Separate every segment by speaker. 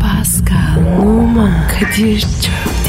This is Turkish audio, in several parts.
Speaker 1: Pascal, Oman, Kadir çok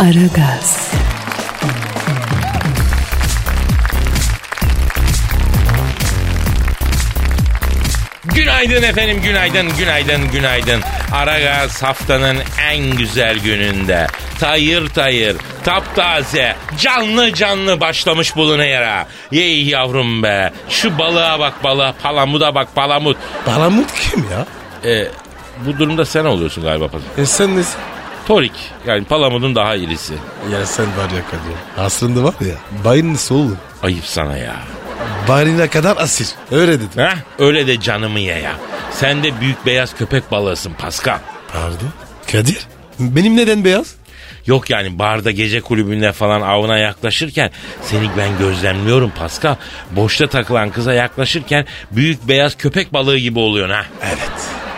Speaker 1: Aragaz,
Speaker 2: Günaydın efendim, günaydın, günaydın, günaydın. Aragaz haftanın en güzel gününde. Tayır tayır, taptaze, canlı canlı başlamış bulunuyor. Yey yavrum be, şu balığa bak balığa, palamuda bak palamut.
Speaker 3: Palamut kim ya?
Speaker 2: Ee, bu durumda sen oluyorsun galiba. Pascal.
Speaker 3: E sen nesin?
Speaker 2: Torik, yani palamudun daha irisi.
Speaker 3: Ya sen var ya Kadir. Aslında var ya. Bayın nasıl oğlum?
Speaker 2: Ayıp sana ya.
Speaker 3: Barına kadar asil. Öyle dedim.
Speaker 2: Heh, öyle de canımı ye ya. Sen de büyük beyaz köpek balığısın Pascal.
Speaker 3: Pardon. Kadir. Benim neden beyaz?
Speaker 2: Yok yani barda gece kulübünde falan avına yaklaşırken seni ben gözlemliyorum Pascal. Boşta takılan kıza yaklaşırken büyük beyaz köpek balığı gibi oluyorsun ha.
Speaker 3: Evet.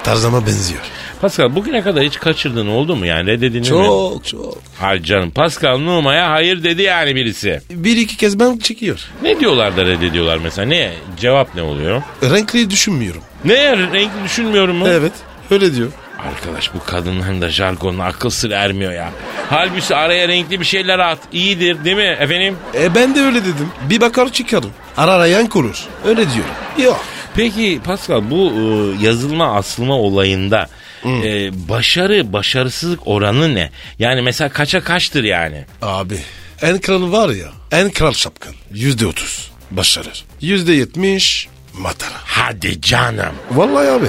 Speaker 3: Tarzama benziyor.
Speaker 2: Pascal bugüne kadar hiç kaçırdın oldu mu yani reddedildi mi?
Speaker 3: Çok çok.
Speaker 2: Hayır canım Pascal Numa'ya hayır dedi yani birisi.
Speaker 3: Bir iki kez ben çekiyor.
Speaker 2: Ne diyorlar da reddediyorlar mesela ne cevap ne oluyor?
Speaker 3: Renkli düşünmüyorum.
Speaker 2: Ne renkli düşünmüyorum mu?
Speaker 3: Evet. Öyle diyor.
Speaker 2: Arkadaş bu kadınların da jargonuna akıl sır ermiyor ya. Halbuki araya renkli bir şeyler at. İyidir değil mi efendim?
Speaker 3: E ben de öyle dedim. Bir bakar çıkarım. Arara yan kurur. Öyle diyorum. Yok.
Speaker 2: Peki Pascal bu e, yazılma asılma olayında e, başarı başarısızlık oranı ne? Yani mesela kaça kaçtır yani?
Speaker 3: Abi en kralı var ya en kral şapkın yüzde otuz başarır. Yüzde yetmiş matara.
Speaker 2: Hadi canım.
Speaker 3: Vallahi abi.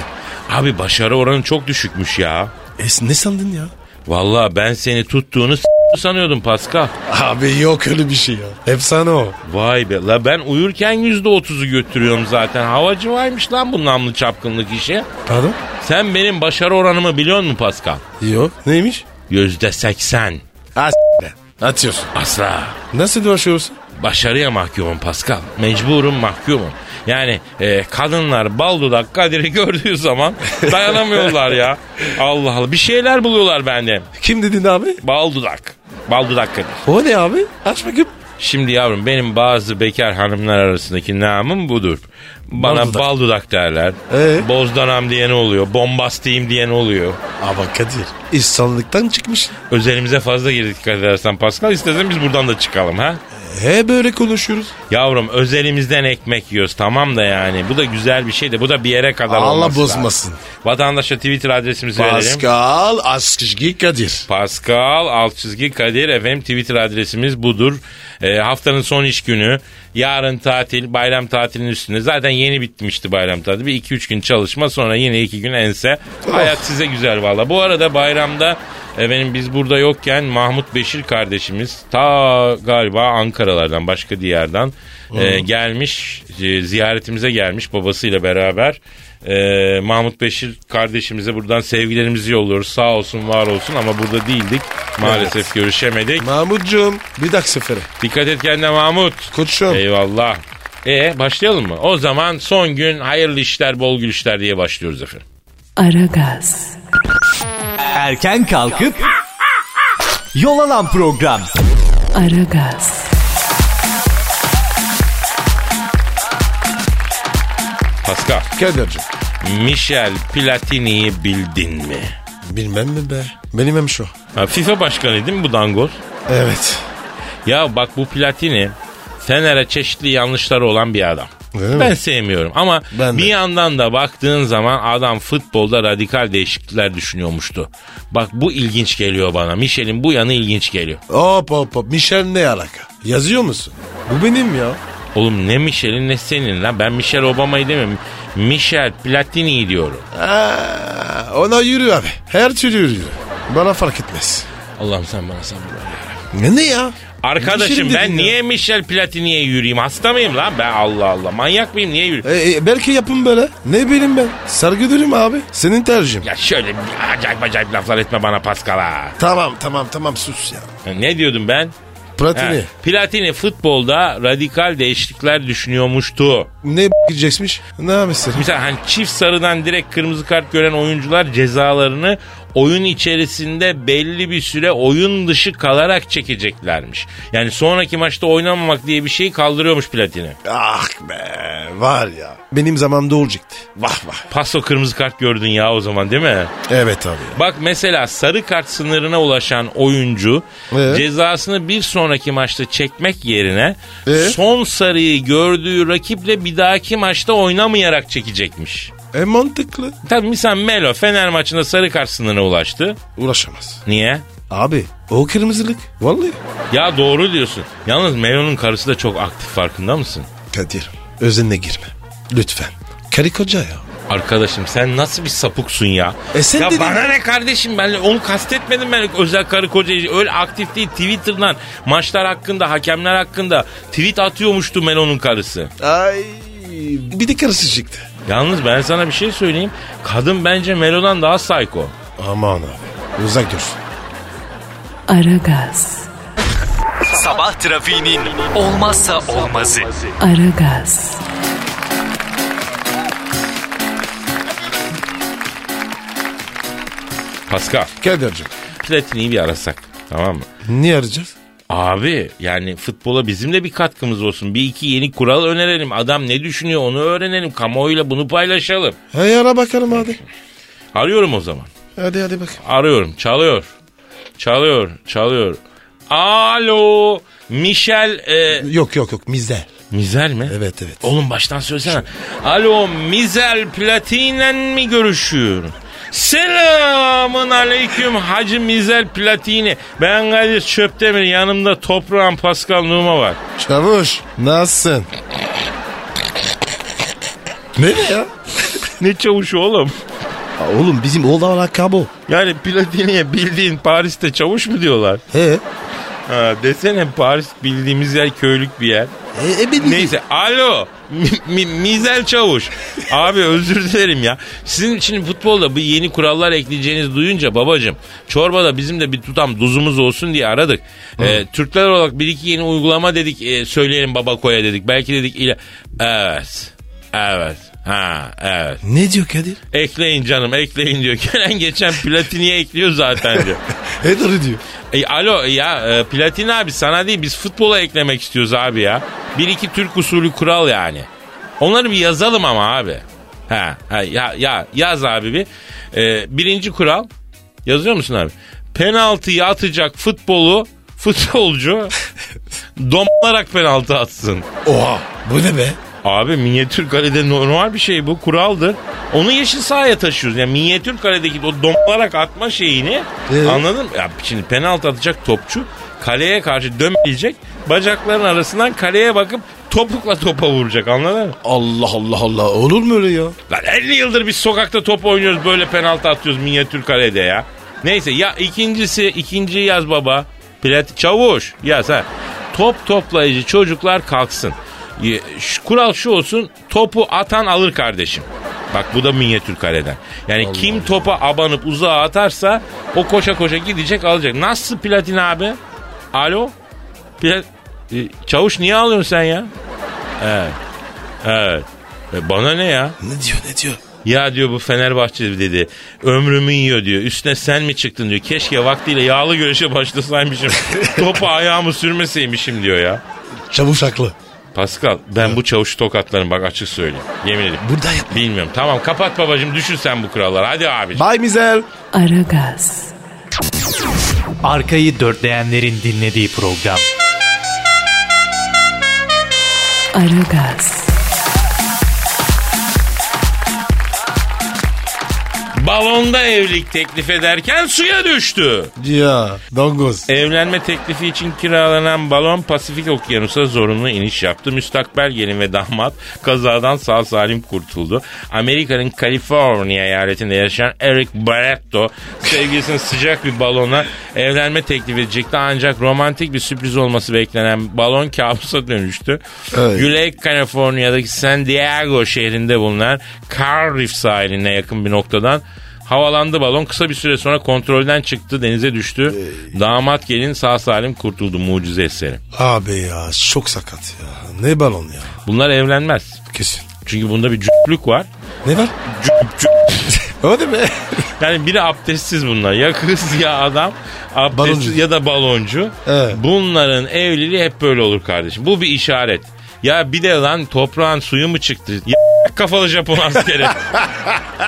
Speaker 2: Abi başarı oranı çok düşükmüş ya.
Speaker 3: E, ne sandın ya?
Speaker 2: Vallahi ben seni tuttuğunu s- sanıyordum Pascal.
Speaker 3: Abi yok öyle bir şey ya. Efsane o.
Speaker 2: Vay be la ben uyurken yüzde otuzu götürüyorum zaten. Havacı varmış lan bu namlı çapkınlık işi.
Speaker 3: Pardon?
Speaker 2: Sen benim başarı oranımı biliyor musun Pascal?
Speaker 3: Yok. Neymiş?
Speaker 2: Yüzde seksen.
Speaker 3: Ha be. Atıyorsun.
Speaker 2: Asla.
Speaker 3: Nasıl dolaşıyorsun?
Speaker 2: Başarıya mahkumum Pascal. Mecburum mahkumum. Yani e, kadınlar bal dudak Kadir'i gördüğü zaman dayanamıyorlar ya. Allah Allah. Bir şeyler buluyorlar bende.
Speaker 3: Kim dedin abi?
Speaker 2: Bal dudak. Bal dudak Kadir.
Speaker 3: O ne abi? Aç bakayım.
Speaker 2: Şimdi yavrum benim bazı bekar hanımlar arasındaki namım budur. Bana
Speaker 3: Bal dudak.
Speaker 2: bal dudak, derler.
Speaker 3: Ee?
Speaker 2: Bozdanam diyen oluyor. Bombastiyim diyen oluyor.
Speaker 3: Ama Kadir insanlıktan çıkmış.
Speaker 2: Özelimize fazla girdik dikkat edersen Pascal. İstersen biz buradan da çıkalım ha.
Speaker 3: He böyle konuşuyoruz.
Speaker 2: Yavrum özelimizden ekmek yiyoruz tamam da yani. Bu da güzel bir şey de bu da bir yere kadar
Speaker 3: Allah
Speaker 2: olması
Speaker 3: bozmasın.
Speaker 2: lazım. Vatandaşa Twitter adresimizi verelim.
Speaker 3: Pascal Askışgi Kadir.
Speaker 2: Pascal alt çizgi Kadir efendim Twitter adresimiz budur. Ee, haftanın son iş günü. Yarın tatil, bayram tatilinin üstünde. Zaten yeni bitmişti bayram tatili. Bir iki üç gün çalışma sonra yine iki gün ense. Hayat size güzel valla. Bu arada bayramda efendim biz burada yokken Mahmut Beşir kardeşimiz ta galiba Ankara'lardan başka diyardan e, gelmiş e, ziyaretimize gelmiş babasıyla beraber. Ee, Mahmut Beşir kardeşimize buradan sevgilerimizi yolluyoruz. Sağ olsun var olsun ama burada değildik. Maalesef görüşemedik.
Speaker 3: Mahmutcuğum bir dakika sefere.
Speaker 2: Dikkat et kendine Mahmut.
Speaker 3: Koçum.
Speaker 2: Eyvallah. E başlayalım mı? O zaman son gün hayırlı işler bol gülüşler diye başlıyoruz efendim.
Speaker 1: Aragaz,
Speaker 4: Erken kalkıp yol alan program.
Speaker 1: Aragaz,
Speaker 2: Pascal,
Speaker 3: Kadir'cim.
Speaker 2: Michel Platini'yi bildin mi?
Speaker 3: Bilmem mi be? Benim hem şu.
Speaker 2: Ha, FIFA başkanı değil mi bu dangoz?
Speaker 3: Evet.
Speaker 2: Ya bak bu Platini Fener'e çeşitli yanlışları olan bir adam.
Speaker 3: Öyle mi?
Speaker 2: ben sevmiyorum ama
Speaker 3: Ben de.
Speaker 2: bir yandan da baktığın zaman adam futbolda radikal değişiklikler düşünüyormuştu. Bak bu ilginç geliyor bana. Michel'in bu yanı ilginç geliyor.
Speaker 3: Hop hop hop. Michel ne alaka? Yazıyor musun? Bu benim ya.
Speaker 2: Oğlum ne Michel'in ne senin lan. Ben Michel Obama'yı demiyorum. Michel Platini'yi diyorum.
Speaker 3: Aa, ona yürü abi. Her türlü yürü. Bana fark etmez.
Speaker 2: Allah'ım sen bana sabır ver. ya.
Speaker 3: Ne, ne ya?
Speaker 2: Arkadaşım
Speaker 3: Yürüyelim
Speaker 2: ben
Speaker 3: dedin ya.
Speaker 2: niye Michel Platini'ye yürüyeyim? Hasta mıyım lan? Ben Allah Allah. Manyak mıyım? Niye yürüyeyim?
Speaker 3: E, e, belki yapın böyle. Ne bileyim ben. Sargı dürüm abi. Senin tercihin.
Speaker 2: Ya şöyle bir acayip acayip laflar etme bana Pascal ha.
Speaker 3: Tamam tamam tamam sus ya.
Speaker 2: Ya Ne diyordum ben? Ha,
Speaker 3: Pratini.
Speaker 2: Platini futbolda radikal değişiklikler düşünüyormuştu.
Speaker 3: Ne gidecekmiş? Ne yapmışsın?
Speaker 2: Mesela hani çift sarıdan direkt kırmızı kart gören oyuncular cezalarını oyun içerisinde belli bir süre oyun dışı kalarak çekeceklermiş. Yani sonraki maçta oynamamak diye bir şeyi kaldırıyormuş Platini.
Speaker 3: Ah be var ya. Benim zamanımda olacaktı. Vah vah.
Speaker 2: Paso kırmızı kart gördün ya o zaman değil mi?
Speaker 3: Evet abi.
Speaker 2: Bak mesela sarı kart sınırına ulaşan oyuncu
Speaker 3: Ee?
Speaker 2: cezasını bir sonraki maçta çekmek yerine
Speaker 3: Ee?
Speaker 2: son sarıyı gördüğü rakiple bir dahaki maçta oynamayarak çekecekmiş.
Speaker 3: E mantıklı.
Speaker 2: Tabii misal Melo Fener maçında sarı kart sınırına ulaştı.
Speaker 3: Uğraşamaz.
Speaker 2: Niye?
Speaker 3: Abi o kırmızılık. Vallahi.
Speaker 2: Ya doğru diyorsun. Yalnız Melo'nun karısı da çok aktif farkında mısın?
Speaker 3: Kadir özenle girme. Lütfen. Karı koca ya.
Speaker 2: Arkadaşım sen nasıl bir sapuksun ya?
Speaker 3: E sen
Speaker 2: ya
Speaker 3: dedin-
Speaker 2: bana ne kardeşim ben onu kastetmedim ben özel karı koca öyle aktif değil Twitter'dan maçlar hakkında hakemler hakkında tweet atıyormuştu Melo'nun karısı.
Speaker 3: Ay. Bir de karısı çıktı.
Speaker 2: Yalnız ben sana bir şey söyleyeyim kadın bence Melo'dan daha psycho.
Speaker 3: Aman abi. Uzak dursun.
Speaker 1: Aragaz,
Speaker 4: Sabah trafiğinin olmazsa olmazı.
Speaker 1: Aragaz,
Speaker 2: Pascal
Speaker 3: Kadir'cim.
Speaker 2: Platini'yi bir arasak tamam mı?
Speaker 3: Niye arayacağız?
Speaker 2: Abi yani futbola bizim de bir katkımız olsun. Bir iki yeni kural önerelim. Adam ne düşünüyor onu öğrenelim. Kamuoyuyla bunu paylaşalım.
Speaker 3: Hey ara bakalım hadi.
Speaker 2: Arıyorum o zaman.
Speaker 3: Hadi hadi bakayım.
Speaker 2: Arıyorum. Çalıyor. Çalıyor. Çalıyor. Alo. Michel. E,
Speaker 3: Yok yok yok mizde.
Speaker 2: Mizel mi?
Speaker 3: Evet, evet. Oh,
Speaker 2: Oğlum baştan söylesene. Alo Mizel Platin'le mi görüşüyor? Selamın aleyküm Hacı Mizel Platini. Ben Kadir Çöptemir yanımda toprağın Pascal Numa var.
Speaker 3: Çavuş nasılsın? ne ya?
Speaker 2: Ne çavuşu oğlum?
Speaker 3: Aa, oğlum bizim oğlan lakabı.
Speaker 2: Yani Platini'ye bildiğin Paris'te çavuş mu diyorlar?
Speaker 3: He.
Speaker 2: Ha, desene Paris bildiğimiz yer köylük bir yer.
Speaker 3: E, e, ben-
Speaker 2: Neyse alo mi, mi- Mizel Çavuş. Abi özür dilerim ya. Sizin için futbolda bu yeni kurallar ekleyeceğinizi duyunca babacım çorbada bizim de bir tutam duzumuz olsun diye aradık. Ee, Türkler olarak bir iki yeni uygulama dedik e, söyleyelim baba koya dedik. Belki dedik ile evet evet ha evet.
Speaker 3: Ne diyor Kadir?
Speaker 2: Ekleyin canım ekleyin diyor. Gelen geçen platiniye ekliyor zaten diyor.
Speaker 3: E doğru diyor.
Speaker 2: E, alo ya e, Platin abi sana değil biz futbola eklemek istiyoruz abi ya. Bir iki Türk usulü kural yani. Onları bir yazalım ama abi. Ha, ha ya, ya yaz abi bir. E, birinci kural yazıyor musun abi? Penaltıyı atacak futbolu futbolcu domlarak penaltı atsın.
Speaker 3: Oha bu ne be?
Speaker 2: Abi minyatür kalede normal bir şey bu kuraldır. Onu yeşil sahaya taşıyoruz. Yani minyatür kaledeki o domlarak atma şeyini
Speaker 3: Ee?
Speaker 2: anladın mı? Ya şimdi penaltı atacak topçu kaleye karşı dönmeyecek. Bacakların arasından kaleye bakıp topukla topa vuracak anladın mı?
Speaker 3: Allah Allah Allah olur mu öyle ya?
Speaker 2: Lan 50 yıldır biz sokakta top oynuyoruz böyle penaltı atıyoruz minyatür kalede ya. Neyse ya ikincisi ikinciyi yaz baba. Plat çavuş yaz ha. Top toplayıcı çocuklar kalksın. Ye- şu- Kural şu olsun topu atan alır kardeşim. Bak bu da minyatür kaleden. Yani kim topa abanıp uzağa atarsa o koşa koşa gidecek alacak. Nasıl platin abi? Alo? Plat- E, Çavuş niye alıyorsun sen ya? Evet. Evet. E, bana ne ya?
Speaker 3: Ne diyor ne diyor?
Speaker 2: Ya diyor bu Fenerbahçe dedi. Ömrümü yiyor diyor. Üstüne sen mi çıktın diyor. Keşke vaktiyle yağlı güreşe başlasaymışım. Topa ayağımı sürmeseymişim diyor ya.
Speaker 3: Çavuş haklı.
Speaker 2: Pascal ben bu çavuşu tokatlarım bak açık söyleyeyim. Yemin ederim.
Speaker 3: Burada yapma.
Speaker 2: Bilmiyorum. Tamam kapat babacığım düşün sen bu kuralları. Hadi abi.
Speaker 3: Bay Mizel.
Speaker 1: Aragaz,
Speaker 4: Arkayı dörtleyenlerin dinlediği program.
Speaker 1: Aragaz,
Speaker 2: Balonda evlilik teklif ederken suya düştü.
Speaker 3: Ya dangoz.
Speaker 2: Evlenme teklifi için kiralanan balon Pasifik Okyanusu'na zorunlu iniş yaptı. Müstakbel gelin ve damat kazadan sağ salim kurtuldu. Amerika'nın Kaliforniya eyaletinde yaşayan Eric Barretto sevgilisinin sıcak bir balona evlenme teklif edecekti. Ancak romantik bir sürpriz olması beklenen balon kabusa dönüştü.
Speaker 3: Evet.
Speaker 2: Güney Kaliforniya'daki San Diego şehrinde bulunan Cardiff sahiline yakın bir noktadan Havalandı balon kısa bir süre sonra kontrolden çıktı denize düştü. Damat gelin sağ salim kurtuldu mucize eseri.
Speaker 3: Abi ya çok sakat ya. Ne balon ya.
Speaker 2: Bunlar evlenmez.
Speaker 3: Kesin.
Speaker 2: Çünkü bunda bir cüplük var.
Speaker 3: Ne var? o değil mi?
Speaker 2: Yani biri abdestsiz bunlar. Ya kız ya adam. Abdestsiz
Speaker 3: Baloncu.
Speaker 2: ya da baloncu.
Speaker 3: Evet.
Speaker 2: Bunların evliliği hep böyle olur kardeşim. Bu bir işaret. Ya bir de lan toprağın suyu mu çıktı? Ya kafalı Japon askeri.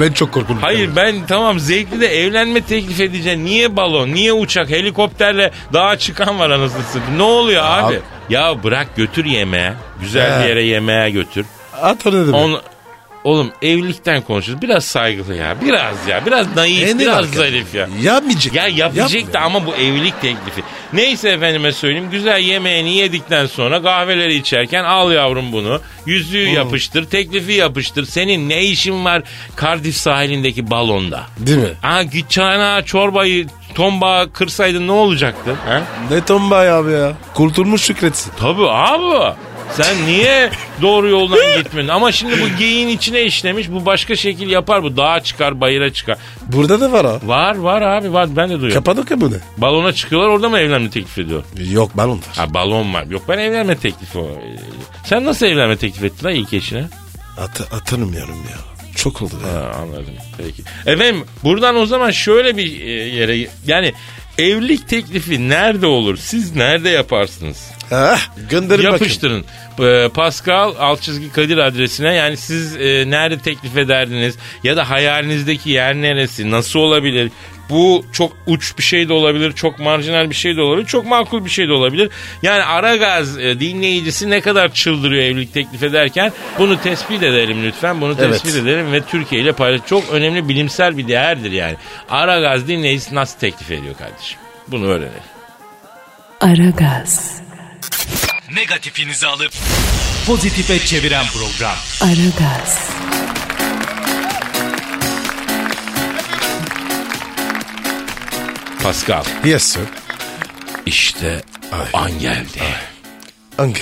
Speaker 3: ben çok korkuldum.
Speaker 2: Hayır ben tamam zevkli de evlenme teklif edeceğim. Niye balon? Niye uçak? Helikopterle dağa çıkan var anasını satayım. Ne oluyor abi?
Speaker 3: Abi-
Speaker 2: Ya bırak götür yemeğe. Güzel bir
Speaker 3: He.
Speaker 2: yere yemeğe götür.
Speaker 3: At onu dedim.
Speaker 2: On, oğlum evlilikten konuşuyoruz. Biraz saygılı ya. Biraz ya. Biraz naif.
Speaker 3: E, ne
Speaker 2: biraz
Speaker 3: alaka?
Speaker 2: zarif ya.
Speaker 3: Yapmayacak.
Speaker 2: Ya yapacak da
Speaker 3: Yapmıyor.
Speaker 2: ama bu evlilik teklifi. Neyse efendime söyleyeyim güzel yemeğini yedikten sonra kahveleri içerken al yavrum bunu. Yüzüğü
Speaker 3: Hmm.
Speaker 2: yapıştır, teklifi yapıştır. Senin ne işin var Cardiff sahilindeki balonda?
Speaker 3: Değil mi?
Speaker 2: Ha git çayına çorbayı tombağa kırsaydın ne olacaktı? Ha?
Speaker 3: Ne tombay abi ya. Kurtulmuş şükretsin.
Speaker 2: Tabii abi. Sen niye doğru yoldan gitmedin? Ama şimdi bu geyiğin içine işlemiş. Bu başka şekil yapar. Bu dağa çıkar, bayıra çıkar.
Speaker 3: Burada da var ha.
Speaker 2: Var var abi var. Ben de duyuyorum.
Speaker 3: Kapadokya bu ne?
Speaker 2: Balona çıkıyorlar orada mı evlenme teklif ediyor?
Speaker 3: Yok balon var.
Speaker 2: Ha balon var. Yok ben evlenme teklifi o. Ee, Sen nasıl evlenme teklif ettin lan ilk eşine?
Speaker 3: At, atarım yarım ya. Çok oldu ya.
Speaker 2: Ha, anladım. Peki. Efendim buradan o zaman şöyle bir e, yere yani evlilik teklifi nerede olur? Siz nerede yaparsınız?
Speaker 3: Ah, gönderin bakayım.
Speaker 2: Yapıştırın. Ee, Pascal alt çizgi Kadir adresine yani siz e, nerede teklif ederdiniz ya da hayalinizdeki yer neresi nasıl olabilir? Bu çok uç bir şey de olabilir, çok marjinal bir şey de olabilir, çok makul bir şey de olabilir. Yani Aragaz e, dinleyicisi ne kadar çıldırıyor evlilik teklif ederken bunu tespit edelim lütfen. Bunu
Speaker 3: Evet.
Speaker 2: tespit edelim ve Türkiye ile paylaş. Çok önemli bilimsel bir değerdir yani. Aragaz dinleyicisi nasıl teklif ediyor kardeşim? Bunu öğrenelim.
Speaker 1: Aragaz,
Speaker 4: Negatifinizi alıp pozitife çeviren program.
Speaker 1: Aragaz,
Speaker 2: Pascal.
Speaker 3: Yes sir.
Speaker 2: İşte o an geldi.
Speaker 3: Angen. Ay.
Speaker 2: Yani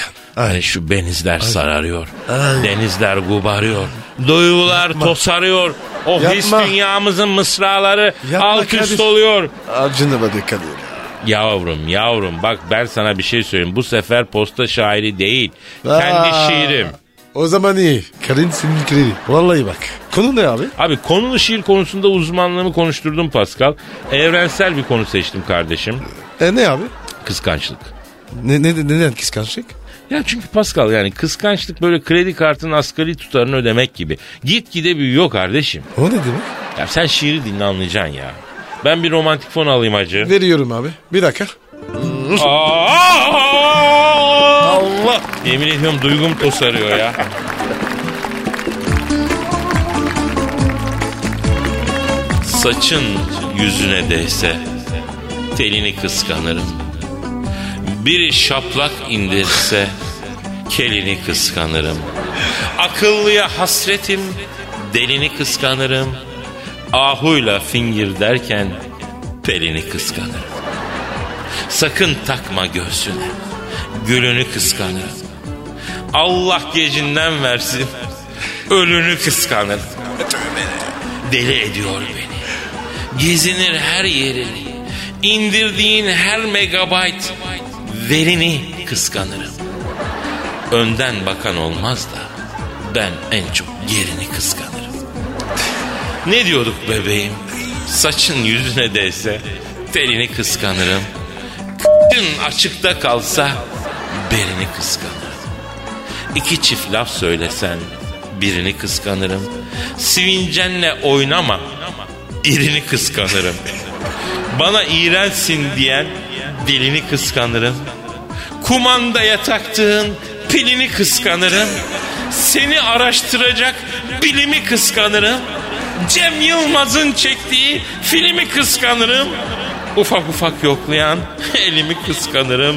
Speaker 2: Hani şu benizler sararıyor. Denizler gubarıyor. Duygular tosarıyor. O his
Speaker 3: Yapma.
Speaker 2: dünyamızın mısraları
Speaker 3: Yapma
Speaker 2: alt üst
Speaker 3: Kadir.
Speaker 2: oluyor.
Speaker 3: Acını bana Kadir.
Speaker 2: Yavrum yavrum bak ben sana bir şey söyleyeyim. Bu sefer posta şairi değil.
Speaker 3: Aa.
Speaker 2: Kendi şiirim.
Speaker 3: O zaman iyi. Karin senin kredi. Vallahi bak. Konu ne abi?
Speaker 2: Abi konulu şiir konusunda uzmanlığımı konuşturdum Pascal. Evrensel bir konu seçtim kardeşim.
Speaker 3: E ne abi?
Speaker 2: Kıskançlık.
Speaker 3: Ne, ne, neden kıskançlık?
Speaker 2: Ya çünkü Pascal yani kıskançlık böyle kredi kartının asgari tutarını ödemek gibi. Gitgide büyüyor kardeşim.
Speaker 3: O ne demek?
Speaker 2: Ya sen şiiri dinle anlayacaksın ya. Ben bir romantik fon alayım hacı.
Speaker 3: Veriyorum abi. Bir dakika.
Speaker 2: Aa! Allah! Yemin ediyorum duygum tosarıyor ya. Saçın yüzüne değse telini kıskanırım. Biri şaplak indirse kelini kıskanırım. Akıllıya hasretim delini kıskanırım. Ahuyla fingir derken pelini kıskanırım. Sakın takma göğsüne. Gülünü kıskanırım. Allah gecinden versin. Ölünü kıskanırım. Deli ediyor beni. Gezinir her yerini. İndirdiğin her megabayt verini kıskanırım. Önden bakan olmaz da ben en çok gerini kıskanırım. Ne diyorduk bebeğim? Saçın yüzüne değse telini kıskanırım. Dün açıkta kalsa birini kıskanırım. İki çift laf söylesen birini kıskanırım. Sivincenle oynama irini kıskanırım. Bana iğrensin diyen dilini kıskanırım. Kumandaya taktığın pilini kıskanırım. Seni araştıracak bilimi kıskanırım. Cem Yılmaz'ın çektiği filmi kıskanırım. Ufak ufak yoklayan elimi kıskanırım.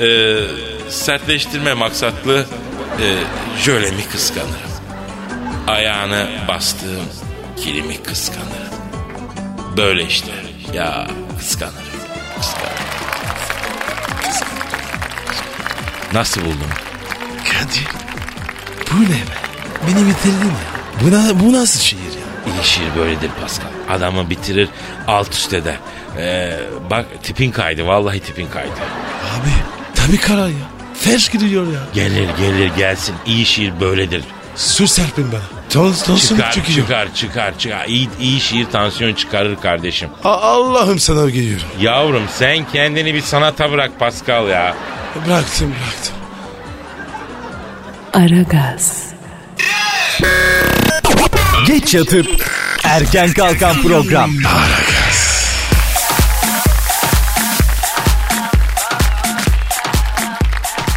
Speaker 2: Ee, sertleştirme maksatlı e, jölemi kıskanırım. Ayağını bastığım kilimi kıskanırım. Böyle işte. Ya kıskanırım. Kıskanırım. Nasıl buldun?
Speaker 3: Kadir bu ne be? Beni bitirdin ya. Bu, na- bu nasıl şiir ya?
Speaker 2: İyi şiir böyledir Pascal. Adamı bitirir alt üst eder. Ee, bak tipin kaydı vallahi tipin kaydı.
Speaker 3: Abi tabii karar ya. Ferş gidiyor ya.
Speaker 2: Gelir gelir gelsin iyi şiir böyledir.
Speaker 3: Sür Serpil bana. Tons, tonsun
Speaker 2: Çıkar
Speaker 3: çıkıyor.
Speaker 2: çıkar çıkar çıkar. İyi, iyi şiir tansiyon çıkarır kardeşim.
Speaker 3: A- Allah'ım sana geliyorum.
Speaker 2: Yavrum sen kendini bir sanata bırak Pascal ya.
Speaker 3: Bıraktım bıraktım.
Speaker 1: Aragaz,
Speaker 4: Geç yatıp erken kalkan program.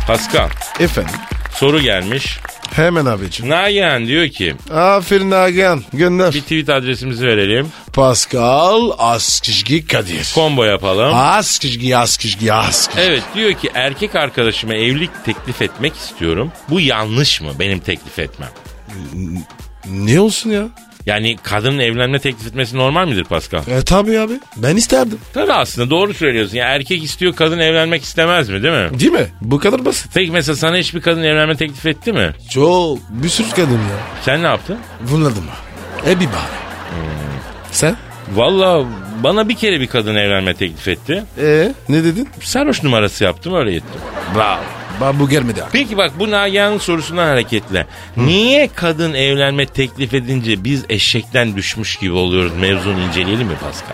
Speaker 2: Pascal
Speaker 3: Efendim
Speaker 2: soru gelmiş.
Speaker 3: hemen abicim.
Speaker 2: Nagihan diyor ki
Speaker 3: Aferin Agen gönder.
Speaker 2: bir tweet adresimizi verelim.
Speaker 3: Pascal Askışgi Kadir.
Speaker 2: Combo yapalım.
Speaker 3: Askışgi Askışgi Askışgi.
Speaker 2: Evet diyor ki erkek arkadaşıma evlilik teklif etmek istiyorum. Bu yanlış mı benim teklif etmem?
Speaker 3: Ne olsun ya?
Speaker 2: Yani kadının evlenme teklif etmesi normal midir Pascal?
Speaker 3: E tabi abi ben isterdim.
Speaker 2: Tabii aslında doğru söylüyorsun. Yani erkek istiyor kadın evlenmek istemez mi değil mi?
Speaker 3: Değil mi? Bu kadar basit.
Speaker 2: Peki mesela sana hiçbir kadın evlenme teklif etti mi?
Speaker 3: Çok bir sürü kadın ya.
Speaker 2: Sen ne yaptın?
Speaker 3: Bunladı mı? E bir bari. Sen?
Speaker 2: Valla bana bir kere bir kadın evlenme teklif etti.
Speaker 3: E ne dedin?
Speaker 2: Sarhoş numarası yaptım öyle gittim. Bravo.
Speaker 3: Ben bu gelmedi abi.
Speaker 2: Peki bak bu Nagihan'ın sorusundan hareketle. Niye kadın evlenme teklif edince biz eşekten düşmüş gibi oluyoruz? Mevzunu inceleyelim mi Pascal?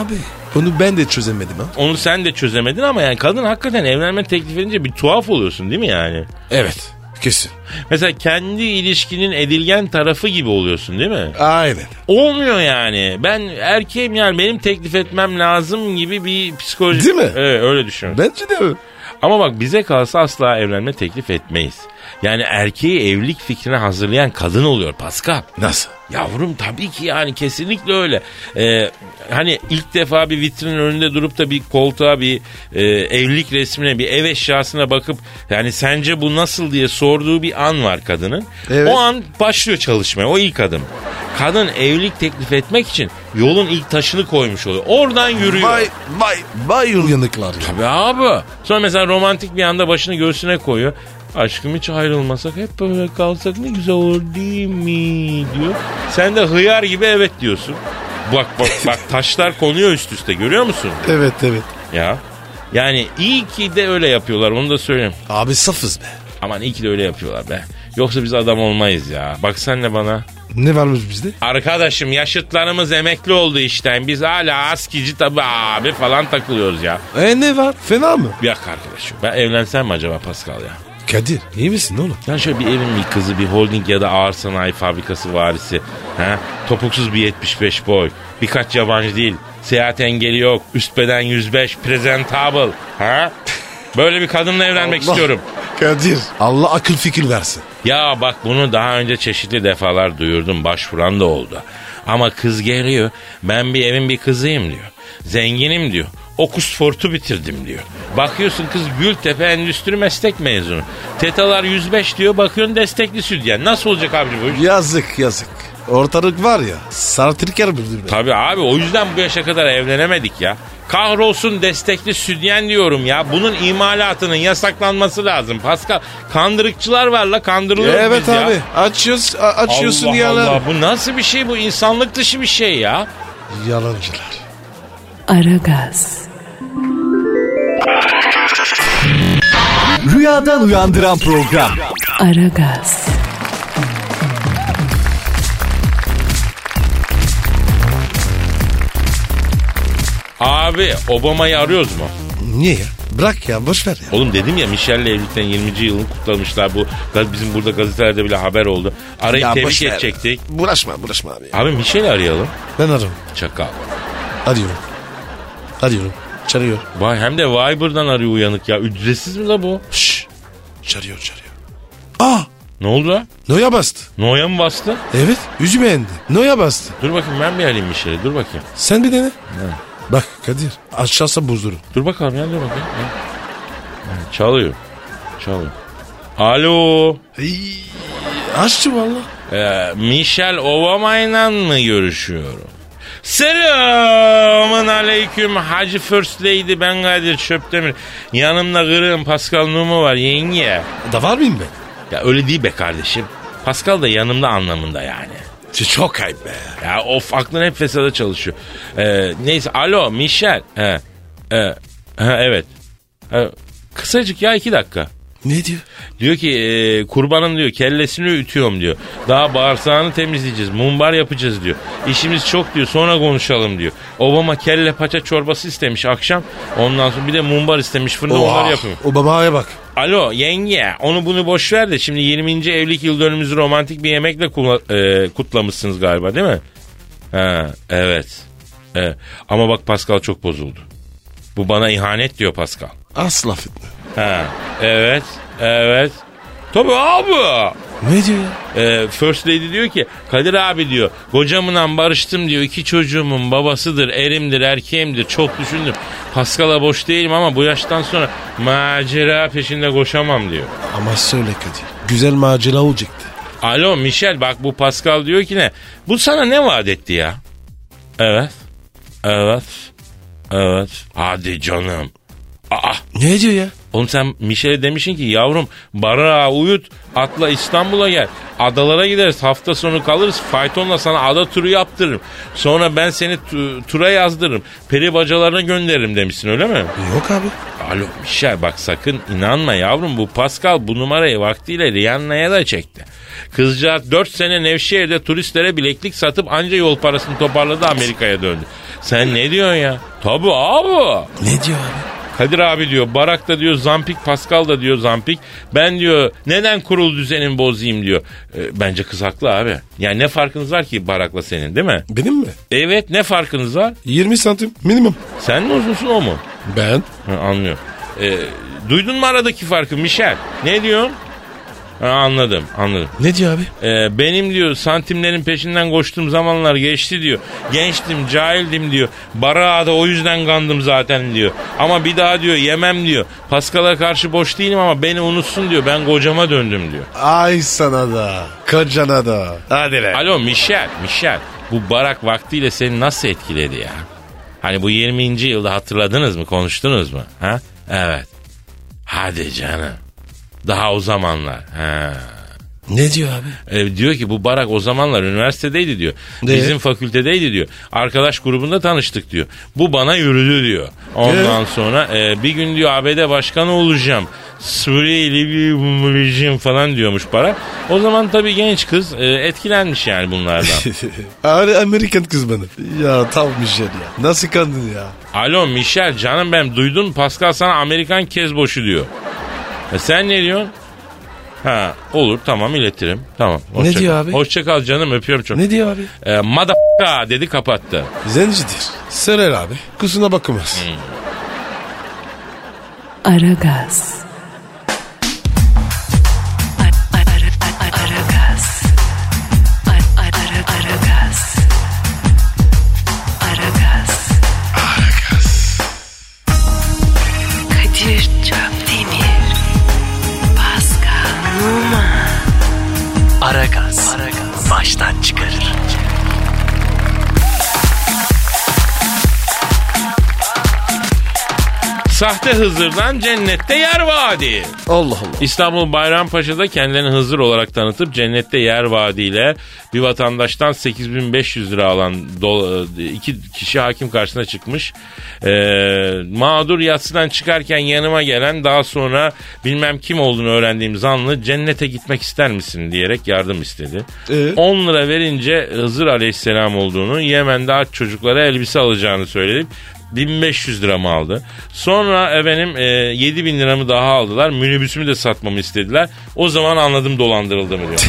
Speaker 3: Abi onu ben de çözemedim ha.
Speaker 2: Onu sen de çözemedin ama yani kadın hakikaten evlenme teklif edince bir tuhaf oluyorsun değil mi yani?
Speaker 3: Evet kesin.
Speaker 2: Mesela kendi ilişkinin edilgen tarafı gibi oluyorsun değil mi?
Speaker 3: Aynen.
Speaker 2: Olmuyor yani. Ben erkeğim yani benim teklif etmem lazım gibi bir psikoloji.
Speaker 3: Değil mi?
Speaker 2: Evet öyle düşünüyorum.
Speaker 3: Bence de öyle.
Speaker 2: Ama bak bize kalsa asla evlenme teklif etmeyiz. Yani erkeği evlilik fikrine hazırlayan kadın oluyor Pascal.
Speaker 3: Nasıl?
Speaker 2: Yavrum tabii ki yani kesinlikle öyle. Ee, hani ilk defa bir vitrinin önünde durup da bir koltuğa bir e, evlilik resmine bir ev eşyasına bakıp yani sence bu nasıl diye sorduğu bir an var kadının.
Speaker 3: Evet.
Speaker 2: O an başlıyor çalışmaya o ilk adım. Kadın evlilik teklif etmek için yolun ilk taşını koymuş oluyor. Oradan yürüyor.
Speaker 3: Vay vay vay uyanıklar. ya.
Speaker 2: Tabii abi. Sonra mesela romantik bir anda başını göğsüne koyuyor. Aşkım hiç ayrılmasak hep böyle kalsak ne güzel olur değil mi diyor. Sen de hıyar gibi evet diyorsun. Bak bak bak taşlar konuyor üst üste görüyor musun?
Speaker 3: Evet evet.
Speaker 2: Ya. Yani iyi ki de öyle yapıyorlar onu da söyleyeyim.
Speaker 3: Abi safız be.
Speaker 2: Aman iyi ki de öyle yapıyorlar be. Yoksa biz adam olmayız ya. Bak sen de bana.
Speaker 3: Ne varmış bizde?
Speaker 2: Arkadaşım yaşıtlarımız emekli oldu işten. Biz hala askici tabi abi falan takılıyoruz ya.
Speaker 3: E ne var? Fena mı?
Speaker 2: Bir dakika arkadaşım. Ben evlensem mi acaba Pascal ya?
Speaker 3: Kadir iyi misin oğlum?
Speaker 2: Ya şöyle bir evin bir kızı, bir holding ya da ağır sanayi fabrikası varisi. Ha? Topuksuz bir 75 boy. Birkaç yabancı değil. Seyahat engeli yok. Üst beden 105. Presentable. Ha? Böyle bir kadınla evlenmek
Speaker 3: Allah.
Speaker 2: istiyorum.
Speaker 3: Kadir. Allah akıl fikir versin.
Speaker 2: Ya bak bunu daha önce çeşitli defalar duyurdum. Başvuran da oldu. Ama kız geliyor. Ben bir evin bir kızıyım diyor. Zenginim diyor. Oxford'u bitirdim diyor. Bakıyorsun kız Gültepe Endüstri Meslek mezunu. Tetalar 105 diyor. Bakıyorsun destekli sütyen. Nasıl olacak abi bu iş?
Speaker 3: Yazık yazık. Ortalık var ya sartırker bildir be.
Speaker 2: Tabii abi o yüzden bu yaşa kadar evlenemedik ya. Kahrolsun destekli sütyen diyorum ya. Bunun imalatının yasaklanması lazım. Pascal kandırıkçılar var la kandırılıyoruz
Speaker 3: Evet
Speaker 2: biz ya.
Speaker 3: abi açıyoruz, a- açıyorsun
Speaker 2: Allah
Speaker 3: yalan.
Speaker 2: Allah bu nasıl bir şey bu insanlık dışı bir şey ya.
Speaker 3: Yalancılar.
Speaker 1: Aragaz,
Speaker 4: Rüyadan uyandıran program.
Speaker 1: Aragaz,
Speaker 2: Abi Obama'yı arıyoruz mu?
Speaker 3: Niye ya? Bırak ya boş ver ya.
Speaker 2: Oğlum dedim ya Michelle'le evlilikten 20. yılını kutlamışlar. Bu gaz- bizim burada gazetelerde bile haber oldu. Arayıp
Speaker 3: Ya
Speaker 2: tebrik
Speaker 3: boş ver.
Speaker 2: edecektik.
Speaker 3: Bulaşma bulaşma abi. ya.
Speaker 2: Abi Michelle'i arayalım.
Speaker 3: Ben arıyorum.
Speaker 2: Çakal.
Speaker 3: Arıyorum. Arıyorum. Çarıyor.
Speaker 2: Vay hem de Viber'dan arıyor uyanık ya. Ücretsiz mi la bu?
Speaker 3: Şşş. Çarıyor çarıyor. Aa
Speaker 2: Ne oldu lan?
Speaker 3: Ah! Noya bastı.
Speaker 2: Noya mı bastı?
Speaker 3: Evet. Yüzüme yendi. Noya bastı.
Speaker 2: Dur bakayım ben bir alayım bir şeyle. Dur bakayım.
Speaker 3: Sen bir dene. Bak Kadir. Aşağısı buzdur.
Speaker 2: Dur bakalım ya dur bakayım. Ha. Ha, Çalıyor. Çalıyor. Alo.
Speaker 3: Aşçı valla.
Speaker 2: Ee, Michel Obama'yla mı görüşüyorum? Selamun aleyküm Hacı First Lady ben Kadir Çöptemir. Yanımda kırığım Pascal Numu var yenge.
Speaker 3: Da var mıyım ben?
Speaker 2: Ya öyle değil be kardeşim. Pascal da yanımda anlamında yani.
Speaker 3: Ç- Çok ayıp be.
Speaker 2: Ya of aklın hep fesada çalışıyor. Ee, neyse alo Michel. He, he, he, evet. He, kısacık ya iki dakika.
Speaker 3: Ne diyor?
Speaker 2: Diyor ki e, kurbanın diyor kellesini ütüyorum diyor. Daha bağırsağını temizleyeceğiz. Mumbar yapacağız diyor. İşimiz çok diyor sonra konuşalım diyor. Obama kelle paça çorbası istemiş akşam. Ondan sonra bir de mumbar istemiş fırında
Speaker 3: Oha,
Speaker 2: onları yapıyor.
Speaker 3: O babaya bak.
Speaker 2: Alo yenge onu bunu boş ver de şimdi 20. evlilik yıl dönümümüzü romantik bir yemekle kula- e, kutlamışsınız galiba değil mi? Ha, evet. E, ama bak Pascal çok bozuldu. Bu bana ihanet diyor Pascal.
Speaker 3: Asla fitne.
Speaker 2: Ha, evet, evet. Tabii abi.
Speaker 3: Ne diyor ya?
Speaker 2: Ee, First Lady diyor ki Kadir abi diyor kocamla barıştım diyor iki çocuğumun babasıdır erimdir erkeğimdir çok düşündüm Paskal'a boş değilim ama bu yaştan sonra macera peşinde koşamam diyor.
Speaker 3: Ama söyle Kadir. Güzel macera olacaktı.
Speaker 2: Alo Michel bak bu Pascal diyor ki ne bu sana ne vaat etti ya? Evet evet evet hadi canım. Aa
Speaker 3: Ne diyor ya?
Speaker 2: Oğlum sen Michel'e demişsin ki yavrum barınağa uyut atla İstanbul'a gel. Adalara gideriz hafta sonu kalırız faytonla sana ada turu yaptırırım. Sonra ben seni tu- tura yazdırırım. Peri bacalarına gönderirim demişsin öyle mi?
Speaker 3: Yok abi.
Speaker 2: Alo Michel bak sakın inanma yavrum bu Pascal bu numarayı vaktiyle Rihanna'ya da çekti. Kızcağız 4 sene Nevşehir'de turistlere bileklik satıp anca yol parasını toparladı Amerika'ya döndü. Sen ne diyorsun ya? Tabii abi.
Speaker 3: Ne diyor abi?
Speaker 2: Kadir abi diyor Barak da diyor Zampik Pascal da diyor Zampik. Ben diyor neden kurul düzenimi bozayım diyor. E, bence kız haklı abi. Yani ne farkınız var ki Barak'la senin değil mi?
Speaker 3: Benim mi?
Speaker 2: Evet ne farkınız var?
Speaker 3: 20 santim minimum.
Speaker 2: Sen mi uzunsun o mu?
Speaker 3: Ben?
Speaker 2: Ha, anlıyorum. E, duydun mu aradaki farkı Michel? Ne diyorum? Ha, anladım anladım.
Speaker 3: Ne diyor abi?
Speaker 2: E, benim diyor santimlerin peşinden koştuğum zamanlar geçti diyor. Gençtim, cahildim diyor. Barağa da o yüzden kandım zaten diyor. Ama bir daha diyor yemem diyor. Paskal'a karşı boş değilim ama beni unutsun diyor. Ben kocama döndüm diyor.
Speaker 3: Ay sana da. Kocana da. Hadi lan.
Speaker 2: Alo Michel, Michel. Bu barak vaktiyle seni nasıl etkiledi ya? Hani bu 20. yılda hatırladınız mı? Konuştunuz mu? Ha? Evet. Hadi canım. Daha o zamanlar. Ha.
Speaker 3: Ne diyor abi?
Speaker 2: E, diyor ki bu Barak o zamanlar üniversitedeydi diyor.
Speaker 3: De.
Speaker 2: Bizim fakültedeydi diyor. Arkadaş grubunda tanıştık diyor. Bu bana yürüdü diyor. Ondan sonra e, bir gün diyor ABD başkanı olacağım. Suriyeli bir bulacağım falan diyormuş Barak. O zaman tabii genç kız e, etkilenmiş yani bunlardan.
Speaker 3: Abi Amerikan kız bana. Ya tam bir şey ya. Nasıl kandın ya?
Speaker 2: Alo Michel canım benim duydun mu? Pascal sana Amerikan kezboşu diyor. E, sen ne diyorsun? Ha olur tamam iletirim. Tamam. hoşça
Speaker 3: diyor
Speaker 2: kal.
Speaker 3: abi?
Speaker 2: Hoşça kal canım öpüyorum çok.
Speaker 3: Ne diyor abi?
Speaker 2: E, mada dedi kapattı.
Speaker 3: Zencidir. Serer abi. Kusuna bakılmaz.
Speaker 1: Aragaz. Aragaz. Aragaz. Aragaz. Kadir Çöptemir. Pascal Numa. Aragaz. Baştan çıkarır.
Speaker 2: Sahte Hızır'dan cennette yer vaadi.
Speaker 3: Allah Allah.
Speaker 2: İstanbul Bayrampaşa'da kendilerini Hızır olarak tanıtıp cennette yer vaadiyle bir vatandaştan 8500 lira alan do- iki kişi hakim karşısına çıkmış. Ee, mağdur yatsıdan çıkarken yanıma gelen daha sonra bilmem kim olduğunu öğrendiğim zanlı cennete gitmek ister misin diyerek yardım istedi.
Speaker 3: Ee?
Speaker 2: 10 lira verince Hızır Aleyhisselam olduğunu, Yemen'de aç çocuklara elbise alacağını söyleyip 1500 liramı aldı. Sonra efendim e, 7000 liramı daha aldılar. Minibüsümü de satmamı istediler. O zaman anladım dolandırıldığımı diyor.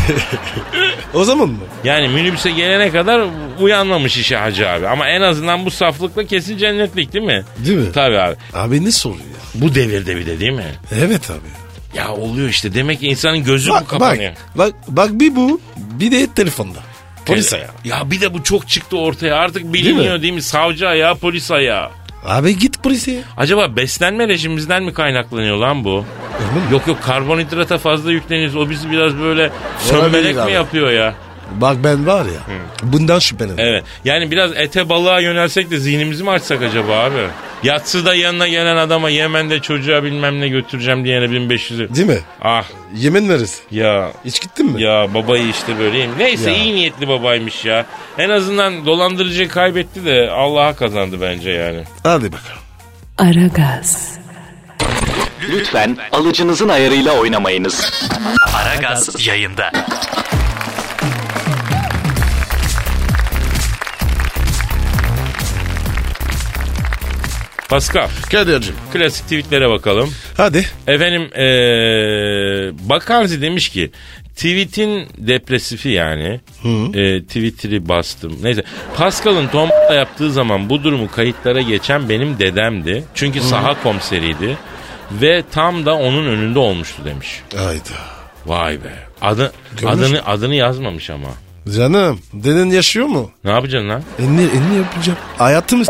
Speaker 3: O zaman mı?
Speaker 2: yani minibüse gelene kadar uyanmamış işe hacı abi. Ama en azından bu saflıkla kesin cennetlik değil mi?
Speaker 3: Değil mi?
Speaker 2: Tabii abi.
Speaker 3: Abi ne soruyor ya?
Speaker 2: Bu devirde bir de değil mi?
Speaker 3: Evet abi.
Speaker 2: Ya oluyor işte. Demek ki insanın gözü bu
Speaker 3: Bak, bak,
Speaker 2: kapanıyor.
Speaker 3: bak, bak bir bu bir de telefonda. Polis
Speaker 2: ya.
Speaker 3: ayağı.
Speaker 2: Ya bir de bu çok çıktı ortaya. Artık biliniyor değil mi? Savcı ayağı, polis ayağı.
Speaker 3: Abi git polise.
Speaker 2: Acaba beslenme rejimimizden mi kaynaklanıyor lan bu?
Speaker 3: Öyle mi?
Speaker 2: Yok yok karbonhidrata fazla yükleniyoruz. O bizi biraz böyle
Speaker 3: Olabilir
Speaker 2: sönmelek mi
Speaker 3: abi.
Speaker 2: yapıyor ya?
Speaker 3: Bak ben var ya bundan şüphelenirim.
Speaker 2: Evet. Yani biraz ete balığa yönelsek de zihnimizi mi açsak acaba abi? Yatsıda yanına gelen adama Yemen'de çocuğa bilmem ne götüreceğim diyene 1500'ü.
Speaker 3: Değil mi?
Speaker 2: Ah
Speaker 3: Yemin veririz.
Speaker 2: ya
Speaker 3: Hiç gittin mi?
Speaker 2: ya babayı işte böyleyim. Neyse
Speaker 3: Ya.
Speaker 2: iyi niyetli babaymış ya. En azından dolandırıcı kaybetti de Allah'a kazandı bence yani.
Speaker 3: Hadi bakalım.
Speaker 1: Aragaz,
Speaker 5: Lütfen alıcınızın ayarıyla oynamayınız.
Speaker 1: Aragaz yayında.
Speaker 2: Pascal
Speaker 3: Kadir'cim.
Speaker 2: klasik tweetlere bakalım.
Speaker 3: Hadi.
Speaker 2: Efendim eee Bakarzi demiş ki tweet'in depresifi yani eee, Twitter'i bastım. Neyse Pascal'ın Tom'la yaptığı zaman bu durumu kayıtlara geçen benim dedemdi. Çünkü saha komiseriydi ve tam da onun önünde olmuştu demiş.
Speaker 3: Hayda.
Speaker 2: Vay be. Adı,
Speaker 3: Görmüş mü?
Speaker 2: adını adını yazmamış ama.
Speaker 3: Canım deden yaşıyor mu? E,
Speaker 2: Ne yapacaksın lan?
Speaker 3: Elini, elini yapacağım. Hayatımız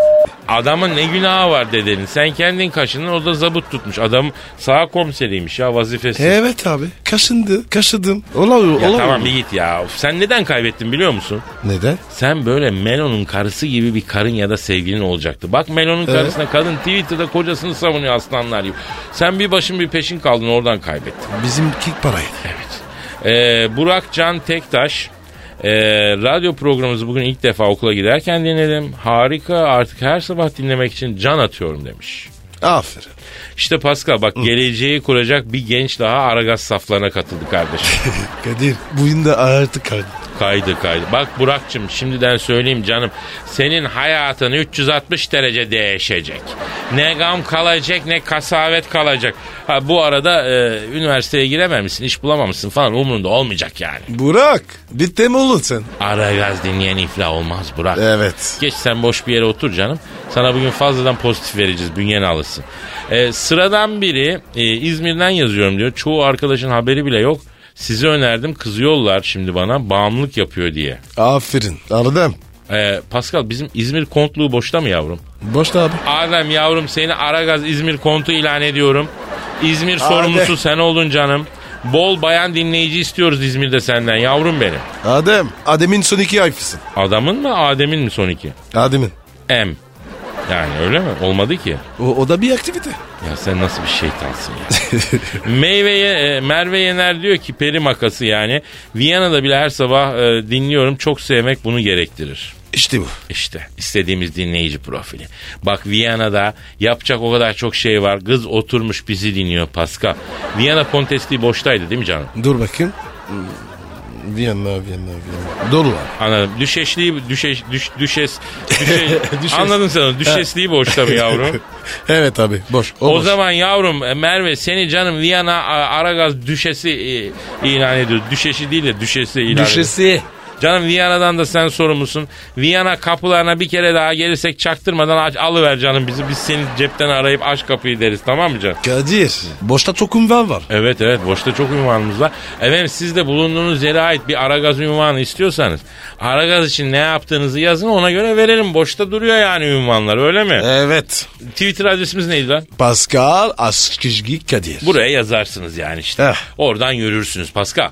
Speaker 2: Adamın ne günahı var dedenin. Sen kendin kaşının o da zabıt tutmuş. Adam saha komiseriymiş ya vazifesi.
Speaker 3: Evet abi. Kaşındı. Kaşıdım. Olamıyor.
Speaker 2: Ya
Speaker 3: olamıyor.
Speaker 2: tamam bir git ya. Of, sen neden kaybettin biliyor musun?
Speaker 3: Neden?
Speaker 2: Sen böyle Melon'un karısı gibi bir karın ya da sevgilin olacaktı. Bak Melon'un karısına kadın Twitter'da kocasını savunuyor aslanlar gibi. Sen bir başın bir peşin kaldın oradan kaybettin.
Speaker 3: Bizimki parayı.
Speaker 2: Evet. Ee, Burak Can Tektaş. ee, radyo programımızı bugün ilk defa okula giderken dinledim. Harika artık her sabah dinlemek için can atıyorum demiş.
Speaker 3: Aferin.
Speaker 2: İşte Pascal bak geleceği kuracak bir genç daha Aragaz saflarına katıldı kardeşim.
Speaker 3: Kadir bugün de artık kaydı.
Speaker 2: Kaydı kaydı. Bak Burak'cığım şimdiden söyleyeyim canım. Senin hayatın 360 derece değişecek. Ne gam kalacak ne kasavet kalacak. Ha, bu arada e, üniversiteye girememişsin, iş bulamamışsın falan umurunda olmayacak yani.
Speaker 3: Burak bitti mi oğlum sen?
Speaker 2: Ara gaz dinleyen iflah olmaz Burak.
Speaker 3: Evet.
Speaker 2: Geç sen boş bir yere otur canım. Sana bugün fazladan pozitif vereceğiz. Bünyen alışsın. Ee, sıradan biri e, İzmir'den yazıyorum diyor. Çoğu arkadaşın haberi bile yok. Sizi önerdim kızıyorlar şimdi bana bağımlılık yapıyor diye.
Speaker 3: Aferin. Aradım.
Speaker 2: Ee, Pascal bizim İzmir kontluğu boşta mı yavrum?
Speaker 3: Boşta abi.
Speaker 2: Adem yavrum seni Aragaz İzmir kontu ilan ediyorum. İzmir
Speaker 3: Hadi.
Speaker 2: sorumlusu sen olun canım. Bol bayan dinleyici istiyoruz İzmir'de senden yavrum benim.
Speaker 3: Adem. Adem'in son iki ayfısın.
Speaker 2: Adamın mı Adem'in mi son iki?
Speaker 3: Adem'in.
Speaker 2: M. Yani öyle mi? Olmadı ki.
Speaker 3: O, o da bir aktivite.
Speaker 2: Ya sen nasıl bir şeytansın ya. Meyveye, e, Merve Yener diyor ki peri makası yani. Viyana'da bile her sabah e, dinliyorum. Çok sevmek bunu gerektirir.
Speaker 3: İşte bu.
Speaker 2: İşte istediğimiz dinleyici profili. Bak Viyana'da yapacak o kadar çok şey var. Kız oturmuş bizi dinliyor Pascal. Viyana kontesti boştaydı değil mi canım?
Speaker 3: Dur bakayım. Hmm, Viyana, Viyana, Viyana. Dolu abi.
Speaker 2: Anladım. Düşeşliği, düşeş, düş, düşes, düşe-
Speaker 3: Düşes.
Speaker 2: anladın sen onu. Düşesliği boşta mı yavrum?
Speaker 3: evet abi boş. O,
Speaker 2: O
Speaker 3: boş.
Speaker 2: zaman yavrum e, Merve seni canım Viyana A- Aragaz düşesi e, ilan ediyor. Düşeşi değil de düşesi ilan ediyor.
Speaker 3: Düşesi.
Speaker 2: Canım Viyana'dan da sen sorumlusun. Viyana kapılarına bir kere daha gelirsek çaktırmadan aç, alıver canım bizi. Biz seni cepten arayıp aç kapıyı deriz tamam mı canım?
Speaker 3: Kadir. Boşta çok ünvan var.
Speaker 2: Evet evet boşta çok ünvanımız var. Efendim siz de bulunduğunuz yere ait bir Aragaz ünvanı istiyorsanız Aragaz için ne yaptığınızı yazın ona göre verelim. Boşta duruyor yani ünvanlar öyle mi?
Speaker 3: Evet.
Speaker 2: Twitter adresimiz neydi lan?
Speaker 3: Pascal Askizgi Kadir.
Speaker 2: Buraya yazarsınız yani işte.
Speaker 3: Eh.
Speaker 2: Oradan yürürsünüz Pascal.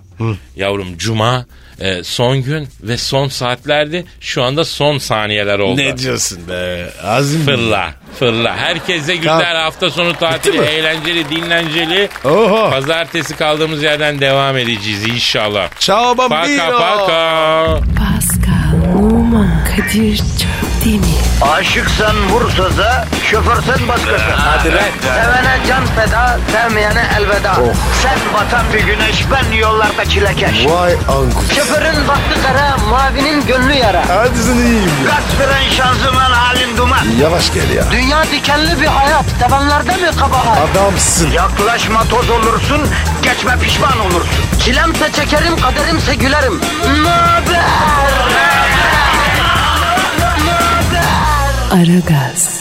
Speaker 2: Yavrum cuma e, son gün ve son saatlerdi. Şu anda son saniyeler oldu.
Speaker 3: Ne diyorsun be? Azim.
Speaker 2: Fırla, fırla. Herkese güzel hafta sonu tatili,
Speaker 3: mi? Ah.
Speaker 2: eğlenceli, dinlenceli.
Speaker 3: Oho.
Speaker 2: Pazartesi kaldığımız yerden devam edeceğiz inşallah.
Speaker 3: Ciao bambino.
Speaker 2: Paka paka.
Speaker 1: Pascal, Oman, Kadir çok değil mi?
Speaker 6: Aşıksan vursa da, şoförsen başkasın. Hadi Sevene can feda, sevmeyene elveda. Sen batan bir güneş, ben yollarda çilekeş.
Speaker 3: Vay anku.
Speaker 6: Şoförün baktı kara, mavinin gönlü yara.
Speaker 3: Hadi sen iyiyim ya.
Speaker 6: Kasperen şanzıman halin duman.
Speaker 3: Yavaş gel ya.
Speaker 6: Dünya dikenli bir hayat, sevenlerde mi kabahar?
Speaker 3: Adamsın.
Speaker 6: Yaklaşma toz olursun, geçme pişman olursun. Çilemse çekerim, kaderimse gülerim. Möber!
Speaker 1: Aragaz.